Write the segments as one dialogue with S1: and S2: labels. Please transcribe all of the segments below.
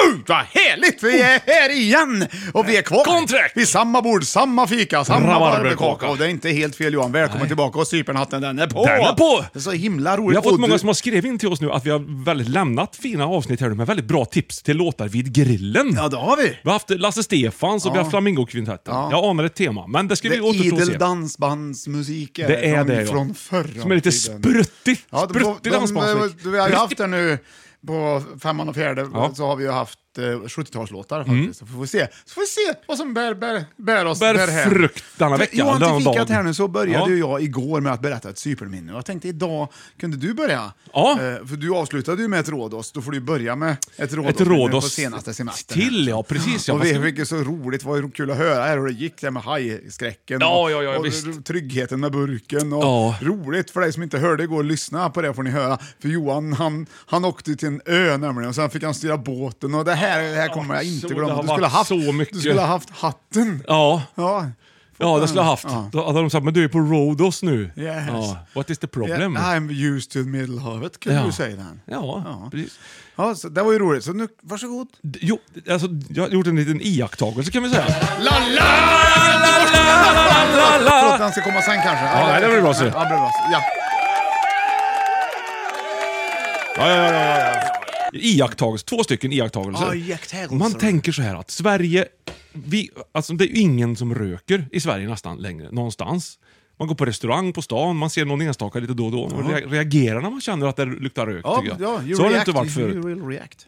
S1: Oj, vad härligt! Vi är här igen! Och vi är kvar
S2: Kontrakt!
S1: i samma bord, samma fika, samma
S2: Rabarberkaka.
S1: barberkaka. Och det är inte helt fel Johan. Välkommen tillbaka och cypernhatten, den är på!
S2: Den är på!
S1: Det är så himla roligt.
S2: Vi har
S1: Och
S2: fått många
S1: du-
S2: som har skrivit in till oss nu att vi har väldigt lämnat fina avsnitt här nu med väldigt bra tips till låtar vid grillen.
S1: Ja, det har vi!
S2: Vi har haft Lasse Stefans och vi har haft Flamingokvintetten. Jag anar ett tema, men det ska
S1: Det
S2: vi återstå
S1: är
S2: och
S1: idel
S2: se.
S1: dansbandsmusik är
S2: Det är
S1: från,
S2: det, ja.
S1: från förr.
S2: Som är lite spruttig.
S1: Ja, de, de,
S2: Spruttig dansbandsmusik.
S1: de, vi har ju haft det nu på femman och fjärde,
S2: Ja. Mm.
S1: så har vi ju haft eh, 70-talslåtar faktiskt. Så får vi se, så får vi se vad som bär, bär, bär oss
S2: Bär
S1: hem.
S2: frukt denna vecka,
S1: Johan,
S2: denna
S1: till fikat
S2: dagen.
S1: här nu så började
S2: Ja.
S1: ju jag igår med att berätta ett superminne. Och Jag tänkte idag kunde du börja.
S2: Ja.
S1: Eh, för du avslutade ju med ett rådos, då får du ju börja med ett rådos,
S2: Ett råd
S1: på
S2: oss
S1: senaste semestern.
S2: till, ja precis. Ja,
S1: och
S2: vad
S1: vi
S2: ska vi-
S1: fick ju så roligt, det var ju kul att höra här hur det gick där med hajskräcken
S2: Ja,
S1: och,
S2: ja, ja,
S1: och
S2: visst.
S1: tryggheten med burken. Och
S2: Ja.
S1: Roligt för dig som inte hörde igår, lyssna på det får ni höra. För Johan han, han åkte till en ö nämligen och sen fick han styra båten och det här, det här kommer jag
S2: så
S1: inte
S2: det
S1: glömma.
S2: har
S1: Du skulle, ha
S2: varit
S1: haft,
S2: så mycket.
S1: du skulle ha haft hatten.
S2: ja.
S1: Ja.
S2: Ja, det skulle jag ha haft.
S1: Ja.
S2: Då hade de sagt, men du är på Rhodos nu.
S1: Yes.
S2: Ja. What is the problem?
S1: Yeah, I'm used to Medelhavet, kunde
S2: Ja.
S1: du säga den.
S2: Ja, precis.
S1: Ja, så det var ju roligt, så nu, varsågod.
S2: D- Jo, alltså, jag har gjort en liten iakttagelse kan vi säga.
S1: La, la! Förlåt, den ska komma sen kanske.
S2: Ja, nej, det blir bra, så.
S1: Ja, det blir bra, så. Ja.
S2: Ja, ja, ja, ja, ja. Iakttagelse, två stycken iakttagelser.
S1: Ja, iakttagelser.
S2: Man tänker så här att Sverige, vi, alltså det är ju ingen som röker i Sverige nästan längre, någonstans. Man går på restaurang på stan, man ser någon enstaka lite då och då och rea- reagerar när man känner att det luktar rök.
S1: Ja,
S2: tycker jag.
S1: ja, you
S2: så har det
S1: react,
S2: inte varit
S1: you
S2: förut.
S1: will react.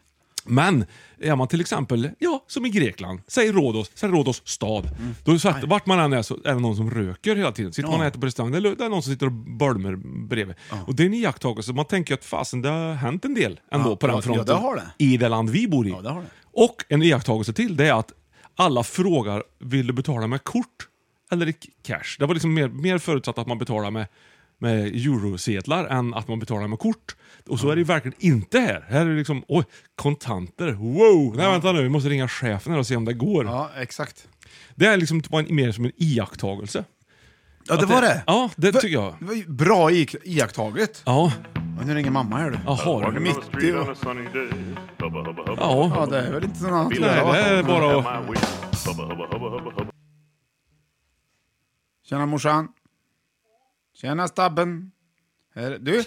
S2: Men är man till exempel, ja, som i Grekland, säg Rhodos, säg Rhodos stad. Då så att, vart man än är så är det någon som röker hela tiden. Sitter man och äter på restaurang, det är det är någon som sitter och bölmer bredvid. Och det är en iakttagelse, man tänker att fasen det har hänt en del ändå
S1: Ja,
S2: på
S1: ja,
S2: den fronten.
S1: ja, det har det.
S2: I det land vi bor i.
S1: Ja, det har det.
S2: Och en iakttagelse till, det är att alla frågar, vill du betala med kort eller i k- cash? Det var liksom mer, mer förutsatt att man betalar med med eurosedlar än att man betalar med kort. Och så är det ju verkligen inte här. Här är det liksom, oj, kontanter. Wow! Nej vänta nu, vi måste ringa chefen här och se om det går.
S1: Ja, exakt.
S2: Det är liksom typ en- mer som en iakttagelse.
S1: Ja, det
S2: Att
S1: var det.
S2: Ja, det
S1: Va-
S2: tycker jag.
S1: det var ju Bra iak- iakttaget.
S2: Ja,
S1: Och nu ringer mamma här du.
S2: jaha. du.
S1: Mitt i... och- Ja,
S2: Ja.
S1: det är väl inte något annat.
S2: Nej, det är bara att...
S1: Tjena morsan. Tjena stabben. Här, du.
S3: Är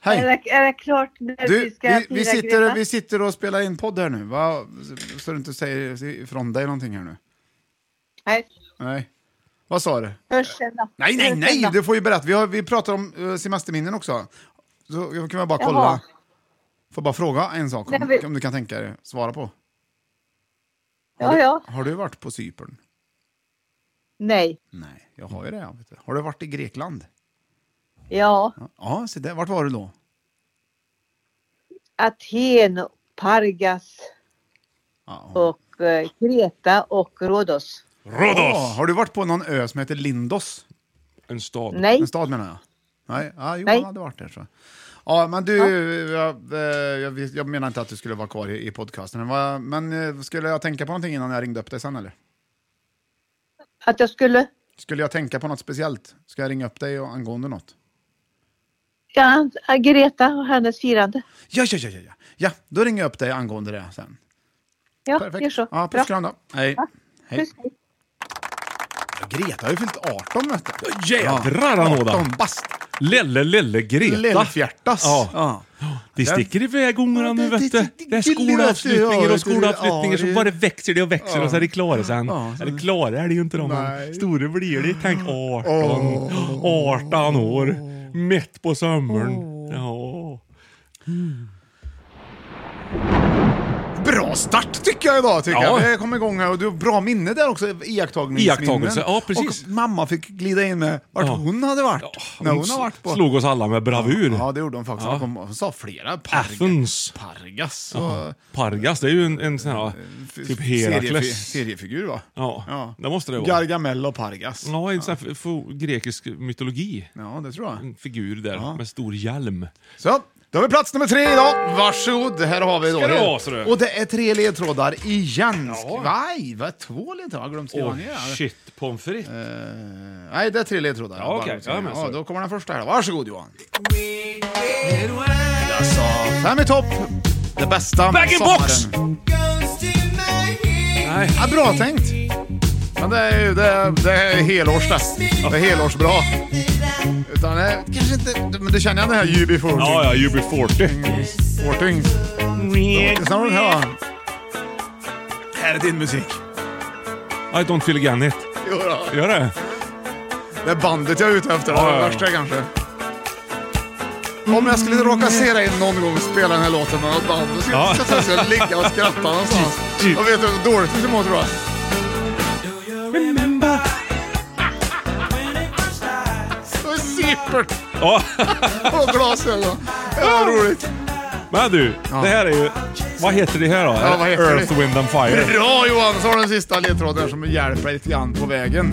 S1: Hej.
S3: det, är det klart när
S1: Du,
S3: vi ska
S1: vi, vi,
S3: fira
S1: sitter,
S3: Greta?
S1: vi sitter och spelar in podd här nu, va? Så- så du inte säger ifrån dig någonting här nu.
S3: Nej,
S1: Nej. Vad sa du?
S3: hörs sen då.
S1: Nej, nej,
S3: Hörs
S1: nej!
S3: sen då.
S1: Du får ju berätta. Vi, har, vi pratar om eh, semesterminnen också. Så jag kan väl bara kolla.
S3: Jaha.
S1: Får bara fråga en sak om,
S3: Nej, vi-
S1: om du kan tänka dig svara på.
S3: Ja, ja.
S1: Har du varit på Cypern?
S3: Nej.
S1: Nej, jag har ju det. Vet du. Har du varit i Grekland?
S3: Ja.
S1: Ja, så där. Vart var du då?
S3: Aten, Pargas
S1: Ja.
S3: och eh, Kreta och Rhodos.
S1: Rhodos! Har du varit på någon ö som heter Lindos?
S2: En stad.
S3: Nej,
S1: En stad menar jag. Nej, ja, Johan
S3: Nej.
S1: hade varit där. Så. Ja, men du, Jag, eh, jag, vet- jag menar inte att du skulle vara kvar i, i podcasten. Men vad- Men eh, skulle jag tänka på någonting innan jag ringde upp dig sen eller?
S3: att jag skulle...
S1: Skulle jag tänka på något speciellt? Ska jag ringa upp dig och angående något?
S3: Ja, Greta och hennes firande.
S1: Ja, ja, ja, ja, ja. Ja, då ringer jag upp dig angående det sen.
S3: Ja, gör
S1: Perfekt.
S3: så.
S1: Ja,
S3: Bra.
S1: puss kram då. Hej. Hej.
S3: Puss, hej.
S1: Ja, Greta har ju fyllt 18 vet du.
S2: Jädrar anåda!
S1: 18 bast.
S2: Lelle, lelle Greta.
S1: Lillfjärtas.
S2: Ja.
S1: Ja.
S2: De sticker iväg ungarna nu vet du. Det är skolavslutningar och skolavslutningar så bara växer det och växer och så är de klara sen. Är de klara är det ju inte de. men
S1: Nej.
S2: Stora blir de. Tänk 18. 18 år. Mitt på sommaren. Ja.
S1: Bra start tycker jag idag. Tycker
S2: Ja.
S1: jag. jag kom igång här och du har bra minne där också. Iakttagningsminnen.
S2: Iakttagelse, ja, precis.
S1: Och mamma fick glida in med vart
S2: Ja.
S1: hon hade varit. när hon har varit på.
S2: Slog oss alla med bravur.
S1: Ja, det gjorde hon faktiskt. Hon, kom, hon sa flera.
S2: Athens.
S1: Pargas.
S2: Ja.
S1: och-
S2: Pargas, det är ju en, en sån här,
S1: f-
S2: typ
S1: seriefi-
S2: Herakles.
S1: Seriefigur va?
S2: Ja, det måste det vara.
S1: Gargamel och Pargas.
S2: Ja, en sån här f- f- grekisk mytologi.
S1: Ja, det tror jag.
S2: En figur där med stor hjälm.
S1: Så, då har vi plats nummer tre idag. Varsågod, här har vi då.
S2: Ska det vara, ser du?
S1: Och det är tre ledtrådar igen. Vaj, vad två ledtrådar? Jag glömde skriva
S2: Åh
S1: ner.
S2: shit, pommes frites.
S1: Eh, nej, det är tre ledtrådar.
S2: Ja, okej.
S1: Bara att säga.
S2: Ja, men
S1: ja,
S2: sorry.
S1: då kommer den första här. Varsågod Johan. Alltså, fem i topp. Det bästa med
S2: Back in
S1: sommaren.
S2: box! Nej.
S1: Ja, bra tänkt. Men det är ju det är, det är helårs det. Det är helårsbra. Utan det är kanske inte... Men du känner igen det här UB40?
S2: Ja, ja, UB40.
S1: Sporting. Lyssna på den här. Här är din musik.
S2: I don't feel again it.
S1: Jo då.
S2: Gör det?
S1: Det är bandet jag är ute efter. Det
S2: Ja,
S1: är
S2: ja,
S1: det
S2: ja.
S1: värsta kanske. Om jag skulle råka se dig någon gång spela den här låten med något band, då skulle
S2: Ja.
S1: jag sätta sig och ligga och skratta någonstans.
S2: Typ.
S1: Jag vet du hur dåligt du mår tror jag? Och Sippert
S2: Ja,
S1: och glasögon. Det var roligt.
S2: men du. Det här är ju... Vad heter det här då?
S1: Ja, vad heter det?
S2: Earth, Wind and Fire.
S1: Bra Johan! Så har du den sista ledtråden som hjälper dig lite grann på vägen.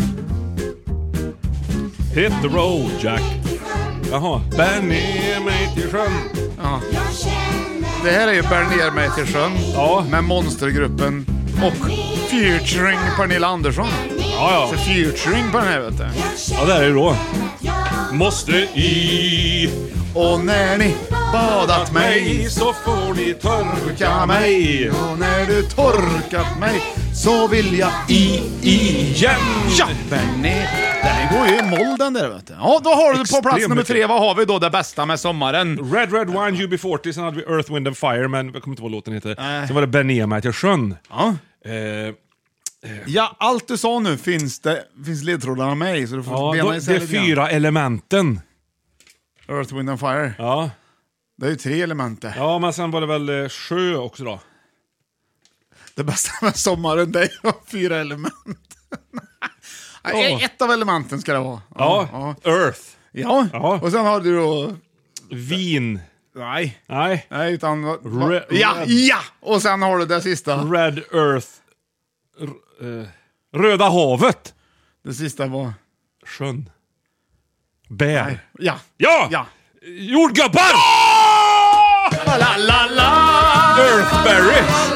S2: Hit the road, Jack. Jaha. Bär ner mig till sjön.
S1: Det här är ju Bär ner mig till sjön
S2: Ja.
S1: med monstergruppen och featuring Pernilla Andersson.
S2: Ja,
S1: Så
S2: ja.
S1: featuring på den här vet du.
S2: Ja, det här är ju då. Måste i
S1: Och när ni badat mig,
S2: så får ni
S1: torka mig. Och när du torkat mig så vill jag i, i.
S2: igen.
S1: Ja, den är... Den går ju i moll den där vet du. Ja, då har du på
S2: Extremt
S1: plats nummer tre,
S2: mycket.
S1: vad har vi då det bästa med sommaren?
S2: Red Red Wine, UB40, sen hade vi Earth, Wind and Fire, men jag kommer inte ihåg vad låten heter. Sen var det Bär ner mig till sjön.
S1: Ja. Alltså,
S2: Eh,
S1: Ja, allt du sa nu finns, det, finns ledtrådarna med i, så du får
S2: Ja,
S1: bena
S2: då,
S1: isär
S2: det är
S1: lite grann.
S2: fyra elementen.
S1: Earth, Wind and Fire.
S2: Ja.
S1: Det är ju tre element det.
S2: ja, men sen var det väl eh, sjö också då?
S1: Det bästa med sommaren, det är ju fyra element. Nej,
S2: Ja.
S1: Ett av elementen ska det vara.
S2: Ja. Earth.
S1: Ja.
S2: Ja.
S1: och sen har du då...
S2: Vin.
S1: Nej.
S2: Nej.
S1: Nej, utan... va-
S2: Re-
S1: ja,
S2: red.
S1: ja! Och sen har du det sista.
S2: Red Earth. R- eh, Röda havet.
S1: Det sista var...
S2: Sjön. Bär.
S1: Ja.
S2: Ja!
S1: Ja.
S2: Jordgubbar!
S1: La, la, la.
S2: Earthberries!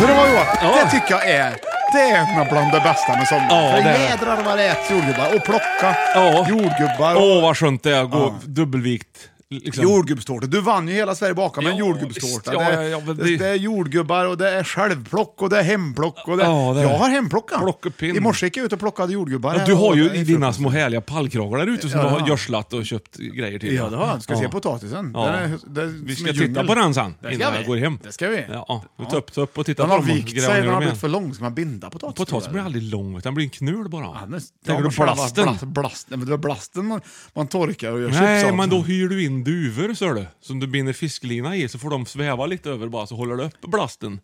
S1: Men det var Johan,
S2: Ja.
S1: det tycker jag är... Det är nog bland det bästa med sommaren.
S2: Ja,
S1: För
S2: det är det.
S1: jädrar vad det äts jordgubbar. Och plocka
S2: Ja.
S1: jordgubbar.
S2: Åh,
S1: och-
S2: vad skönt det är att gå dubbelvikt. Liksom.
S1: Jordgubbstårta. Du vann ju hela Sverige bakar med en
S2: Ja,
S1: jordgubbstårta.
S2: visst. Ja,
S1: det, är-
S2: ja, ja, men
S1: det...
S2: det-
S1: är jordgubbar och det är självplock och det är hemplock. Och det...
S2: Ja, det är-
S1: jag har hemplockat.
S2: Plockepinn.
S1: I morse gick jag ut och plockade jordgubbar.
S2: Ja,
S1: här
S2: du har
S1: och-
S2: ju
S1: det är
S2: dina
S1: frukost.
S2: små härliga pallkragar där ute som
S1: Ja.
S2: du har gödslat och köpt grejer till.
S1: Ja, det har jag. Ska se
S2: Ja.
S1: potatisen.
S2: Ja.
S1: Den är, det är
S2: Vi
S1: som
S2: ska
S1: en
S2: titta
S1: djungel.
S2: på den sen,
S1: Det ska
S2: innan
S1: vi.
S2: jag går hem.
S1: Det ska vi.
S2: Ja, vi tar upp, tar upp och tittar
S1: Den har
S2: på dem. och
S1: vikt
S2: gräver
S1: sig,
S2: ner
S1: den
S2: dem
S1: har
S2: igen.
S1: blivit för lång så man bindar potatisen.
S2: Potatisen blir aldrig lång, utan den blir en knul bara.
S1: Ja, men-
S2: Tänker
S1: ja,
S2: du
S1: själva
S2: blasten?
S1: Blast, blast, nej, men det var blasten man, man torkar och gör chips
S2: Nej,
S1: av
S2: men
S1: sen.
S2: då hyr du in duvor, ser du. Som du binder fisklina i, så får de sväva lite över bara, så håller du upp blasten.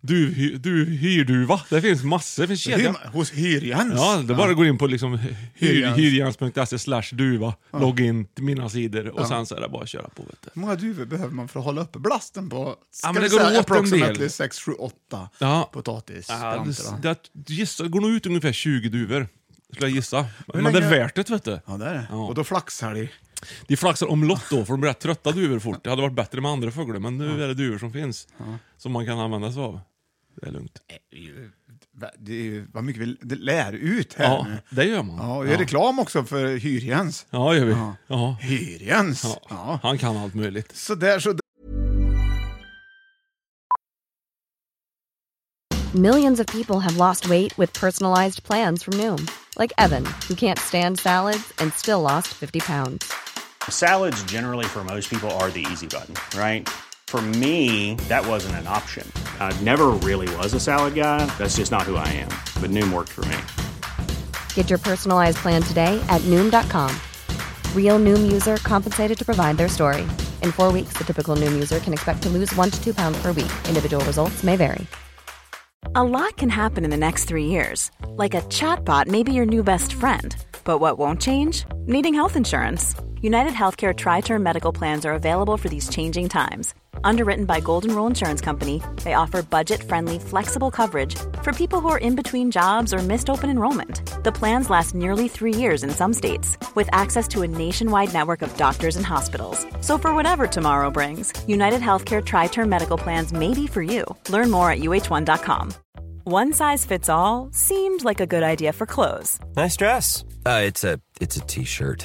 S2: Du, du hyrduva. Det finns massor, det finns kedja.
S1: Hyr, hos Hyrjans.
S2: Ja, det är bara att gå in på liksom hyr,
S1: Hyrjans.
S2: hyrjans.se slash duva, logga in till mina sidor och sen så är det bara att köra på. Vet du.
S1: Hur många duvor behöver man för att hålla uppe blasten på? Ska
S2: Ja, men
S1: vi
S2: det går
S1: säga
S2: åt en
S1: approximately
S2: del.
S1: 6, 7, 8
S2: Ja.
S1: potatis.
S2: Ja, det, det, gissa, det går nog ut ungefär 20 duvor. Skulle jag gissa. Men det
S1: länge-
S2: är värt det vet du.
S1: Ja, det är det.
S2: Ja.
S1: Och då flaxar de.
S2: De flaxar omlott då, för de blir rätt trötta duvor fort. Det hade varit bättre med andra fåglar, men nu är det duvor som finns. Som man kan använda sig av. Det är lugnt.
S1: Det är ju vad mycket vi det lär ut här
S2: Ja,
S1: nu.
S2: det gör man.
S1: Ja, och gör reklam också för Hyrjans.
S2: Ja, gör vi.
S1: Ja.
S2: Ja.
S1: Hyrjans!
S2: Ja.
S1: Ja.
S2: Han kan allt möjligt.
S1: Så där så.
S4: Millions of people have lost weight with personalized plans from Noom, like Evan, who can't stand salads and still lost 50 pounds.
S5: Salads, generally, for most people, are the easy button, right? For me, that wasn't an option. I never really was a salad guy. That's just not who I am. But Noom worked for me.
S4: Get your personalized plan today at Noom.com. Real Noom user compensated to provide their story. In four weeks, the typical Noom user can expect to lose one to two pounds per week. Individual results may vary.
S6: A lot can happen in the next three years. Like a chatbot may be your new best friend. But what won't change? Needing health insurance. United Healthcare Tri Term Medical Plans are available for these changing times. Underwritten by Golden Rule Insurance Company, they offer budget friendly, flexible coverage for people who are in between jobs or missed open enrollment. The plans last nearly three years in some states, with access to a nationwide network of doctors and hospitals. So, for whatever tomorrow brings, United Healthcare Tri Term Medical Plans may be for you. Learn more at uh1.com. One size fits all seemed like a good idea for clothes
S7: Nice dress. Uh, it's a it's a t-shirt.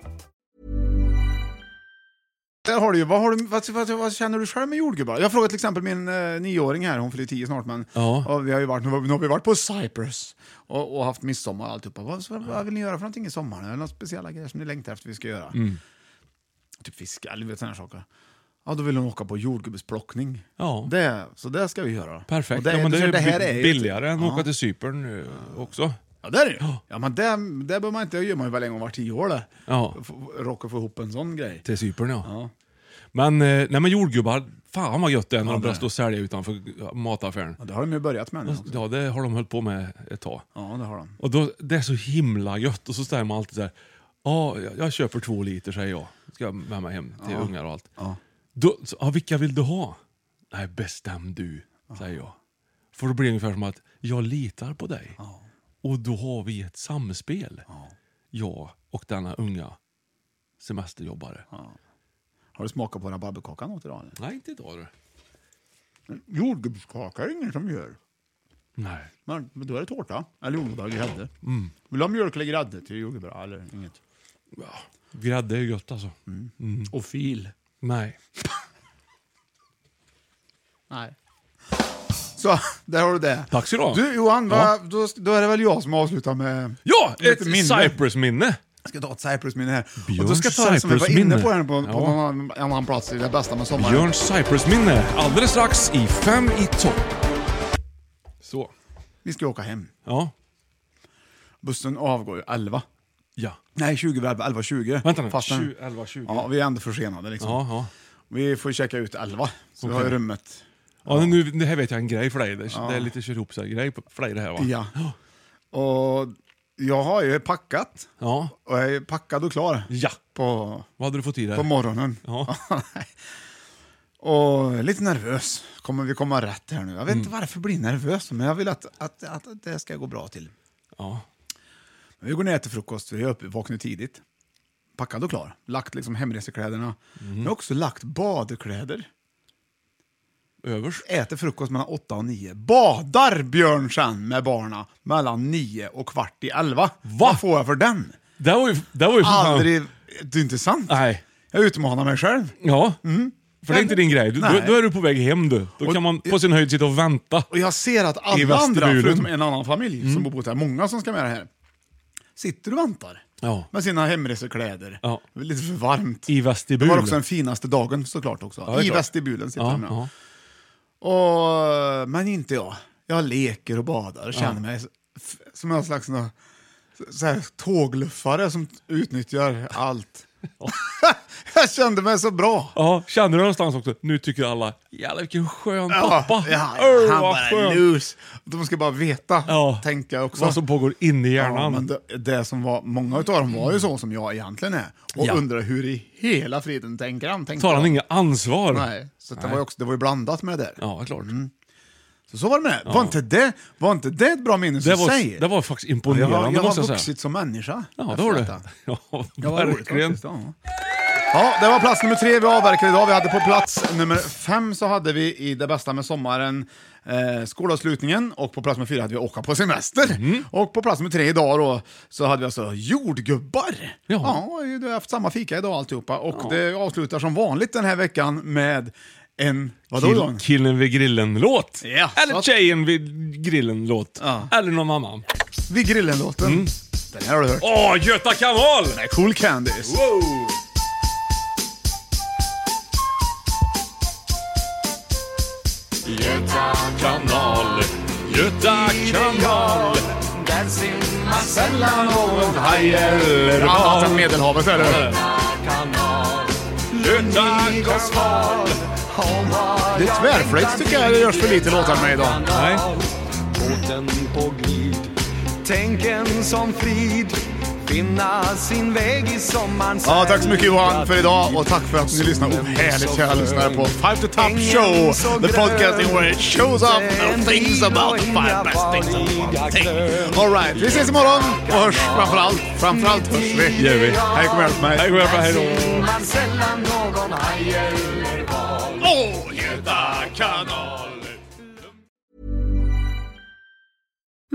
S1: Där har du ju, vad, har du, vad, vad, vad känner du själv med jordgubbar? Jag frågade till exempel min eh, nioåring här, hon fyller tio snart, men
S2: Ja.
S1: och vi har ju varit, nu, har vi- nu har vi varit på Cyprus och, och haft midsommar och alltihopa. Vad, vad, vad vill ni göra för någonting i sommar? Är det några speciella grejer som ni längtar efter vi ska göra?
S2: Mm.
S1: Typ fiska eller vet, sådana saker. Ja, då vill hon åka på jordgubbsplockning.
S2: Ja.
S1: Det, så det ska vi göra. Och
S2: Perfekt.
S1: Det,
S2: ja, men
S1: du
S2: det
S1: ser,
S2: är,
S1: här
S2: bi-
S1: är ju-
S2: billigare än att
S1: Ja.
S2: åka till Cypern eh, också.
S1: Ja, det är det ju. Ja, men det, det behöver man inte, det gör man ju väl en gång var tio år det.
S2: Ja.
S1: F- Rocka få ihop en sån grej.
S2: Till Cypern ja.
S1: Ja.
S2: Men, eh, nej, men jordgubbar, fan vad gött det är när de
S1: det är.
S2: börjar stå och sälja utanför mataffären.
S1: Ja, det har de ju börjat med nu också.
S2: Ja, det har de hållit på med ett tag.
S1: Ja, det har de.
S2: Och då, det är så himla gött. Och så säger man alltid så här. Ja, jag- jag köper två liter säger jag. Ska jag med mig hem till ungar och allt.
S1: Ja.
S2: Då, så, ja, vilka vill du ha? Nej, bestäm du, säger jag. För då blir det ungefär som att jag litar på dig. Och då har vi ett samspel. Jag och denna unga semesterjobbare.
S1: Har du smakat på den här babbelkakan åt idag? eller?
S2: Nej, inte idag du.
S1: Jordgubbskaka är det ingen som gör.
S2: Nej.
S1: Men men då är det tårta. Eller jordgubbar och grädde. Vill du ha mjölk eller grädde till jordgubbar? Eller inget.
S2: Grädde är gött alltså.
S1: Mm. Och fil.
S2: Nej.
S1: Nej. Så, där har du det.
S2: Tack ska du ha.
S1: Du Johan, va,
S2: Ja.
S1: då, då är det väl jag som avslutar med...
S2: Ja,
S1: Lite
S2: ett
S1: minne.
S2: Cyprus-minne.
S1: Jag ska ta ett Cyprus-minne här.
S2: Björns
S1: och då ska jag ta det som vi var inne på här på, på
S2: Cyprus-minne.
S1: en annan- en annan plats i det bästa med sommaren.
S2: Björns Cyprus-minne alldeles strax i Fem i topp. Så.
S1: Vi ska åka hem.
S2: Ja.
S1: Bussen avgår ju 11.
S2: Ja.
S1: Nej, 20 över 11, 11, 20.
S2: Vänta nu.
S1: Fastän-
S2: 20, 11, 20.
S1: Ja, vi är ändå försenade liksom.
S2: Ja, ja.
S1: Vi får checka ut 11, så vi har ju
S2: Okej.
S1: rummet.
S2: ja nu, det här vet jag en grej för dig. Det, det är lite kör ihop sig grej på- för dig det här va?
S1: Ja. Och jag har ju packat.
S2: Ja.
S1: Och jag är packad och klar
S2: Ja.
S1: på,
S2: Vad hade du fått i dig?
S1: på morgonen.
S2: Ja.
S1: Och lite nervös. Kommer vi komma rätt här nu? Jag vet
S2: Mm.
S1: inte varför jag blir nervös, men jag vill att, att, att, att det ska gå bra till.
S2: Ja.
S1: Men vi går ner till frukost, vi är uppe, vaknar tidigt. Packad och klar. Lagt liksom hemresekläderna.
S2: Mm.
S1: Men också lagt badkläder.
S2: Övers.
S1: Äter frukost mellan 8 och 9. Badar Björn sen med barna mellan 9 och kvart i 11. Vad får jag för den?
S2: Det var ju... Det var ju för fan-
S1: Aldrig... Det är inte sant.
S2: Nej.
S1: Jag utmanar mig själv.
S2: Ja. För det är inte din grej. Du, då,
S1: Mm. Nej.
S2: då är du på väg hem du. Då
S1: Och-
S2: kan man på sin höjd sitta och vänta.
S1: Och jag ser att
S2: I Mm.
S1: alla andra,
S2: vestibulen.
S1: förutom en annan familj som bor på hotell, många som ska med det här, sitter och väntar.
S2: Ja.
S1: Med sina hemresekläder.
S2: Ja.
S1: Det är Lite för varmt.
S2: I
S1: det
S2: vestibul.
S1: var också den finaste dagen såklart också.
S2: Ja, det är
S1: I
S2: klart.
S1: vestibulen sitter
S2: Ja,
S1: de.
S2: ja.
S1: ja. Och, men inte jag. Jag leker och badar och känner mig f- som någon slags nå- så här, tågluffare som t- utnyttjar allt. jag kände mig så bra.
S2: Ja, känner du någonstans också, nu tycker alla, jävlar vilken skön pappa.
S1: ja,
S2: Öh,
S1: han
S2: vad
S1: bara
S2: skön.
S1: loose. De ska bara veta,
S2: Ja.
S1: tänker jag också.
S2: Vad som pågår inne i
S1: Ja, men
S2: hjärnan.
S1: det, det som var, många av dem var ju så som jag egentligen är. Och
S2: Ja.
S1: undrar hur i hela friden tänker han? Tänkte
S2: Tar han
S1: jag.
S2: inget ansvar?
S1: Nej, Mm. så att det
S2: Nej.
S1: var ju också, det var ju blandat med det där.
S2: Ja, klart.
S1: Så, så var det med det. Var, inte det. var inte det ett bra minne
S2: Det,
S1: som
S2: var,
S1: säger?
S2: det var faktiskt
S1: jag,
S2: imponerande
S1: har, jag har
S2: måste jag
S1: vuxit
S2: säga.
S1: som människa.
S2: Ja,
S1: efter
S2: det har du.
S1: detta.
S2: Ja,
S1: Ja, vad roligt
S2: verkligen.
S1: faktiskt, ja. Ja, det var plats nummer tre vi avverkade idag. Vi hade på plats nummer fem så hade vi i Det bästa med sommaren eh, skolavslutningen och på plats nummer fyra hade vi Åka på semester.
S2: Mm.
S1: Och på plats nummer tre idag då så hade vi alltså Jordgubbar.
S2: Ja.
S1: ja du har haft samma fika idag alltihopa och det avslutar som vanligt den här veckan med en... Vadå
S2: Kill,
S1: John?
S2: killen vid grillen-låt.
S1: Ja,
S2: Eller
S1: så-
S2: tjejen vid grillen-låt.
S1: Ja.
S2: Eller någon annan.
S1: Vid grillen-låten.
S2: Mm.
S1: Den här har du hört.
S2: Åh, Göta kanal!
S1: Den är Cool Candies.
S2: Wow! Göta kanal, Göta kanal Där simmar sällan någon haj eller
S1: Annat än Medelhavet är det.
S2: Göta kanal
S1: Det är tvärflöjt tycker jag det görs för lite låtar med idag.
S2: Nej,
S8: båten på glid. Tänken som frid, finna sin väg i sommarns
S1: Ja, tack så mycket Johan för idag och tack för att ni lyssnar. Oh, härligt kära lyssnare på Five to Top Show. The podcasting where it shows up and things about the five best things about thing. Alright, vi ses imorgon och hörs framförallt. Framförallt hörs vi.
S2: gör vi.
S1: Hej, kom hjälp mig.
S2: Hej, kom hjälp mig, hej då.
S8: Man sällan någon haj eller val.
S1: Åh, Göta kanal.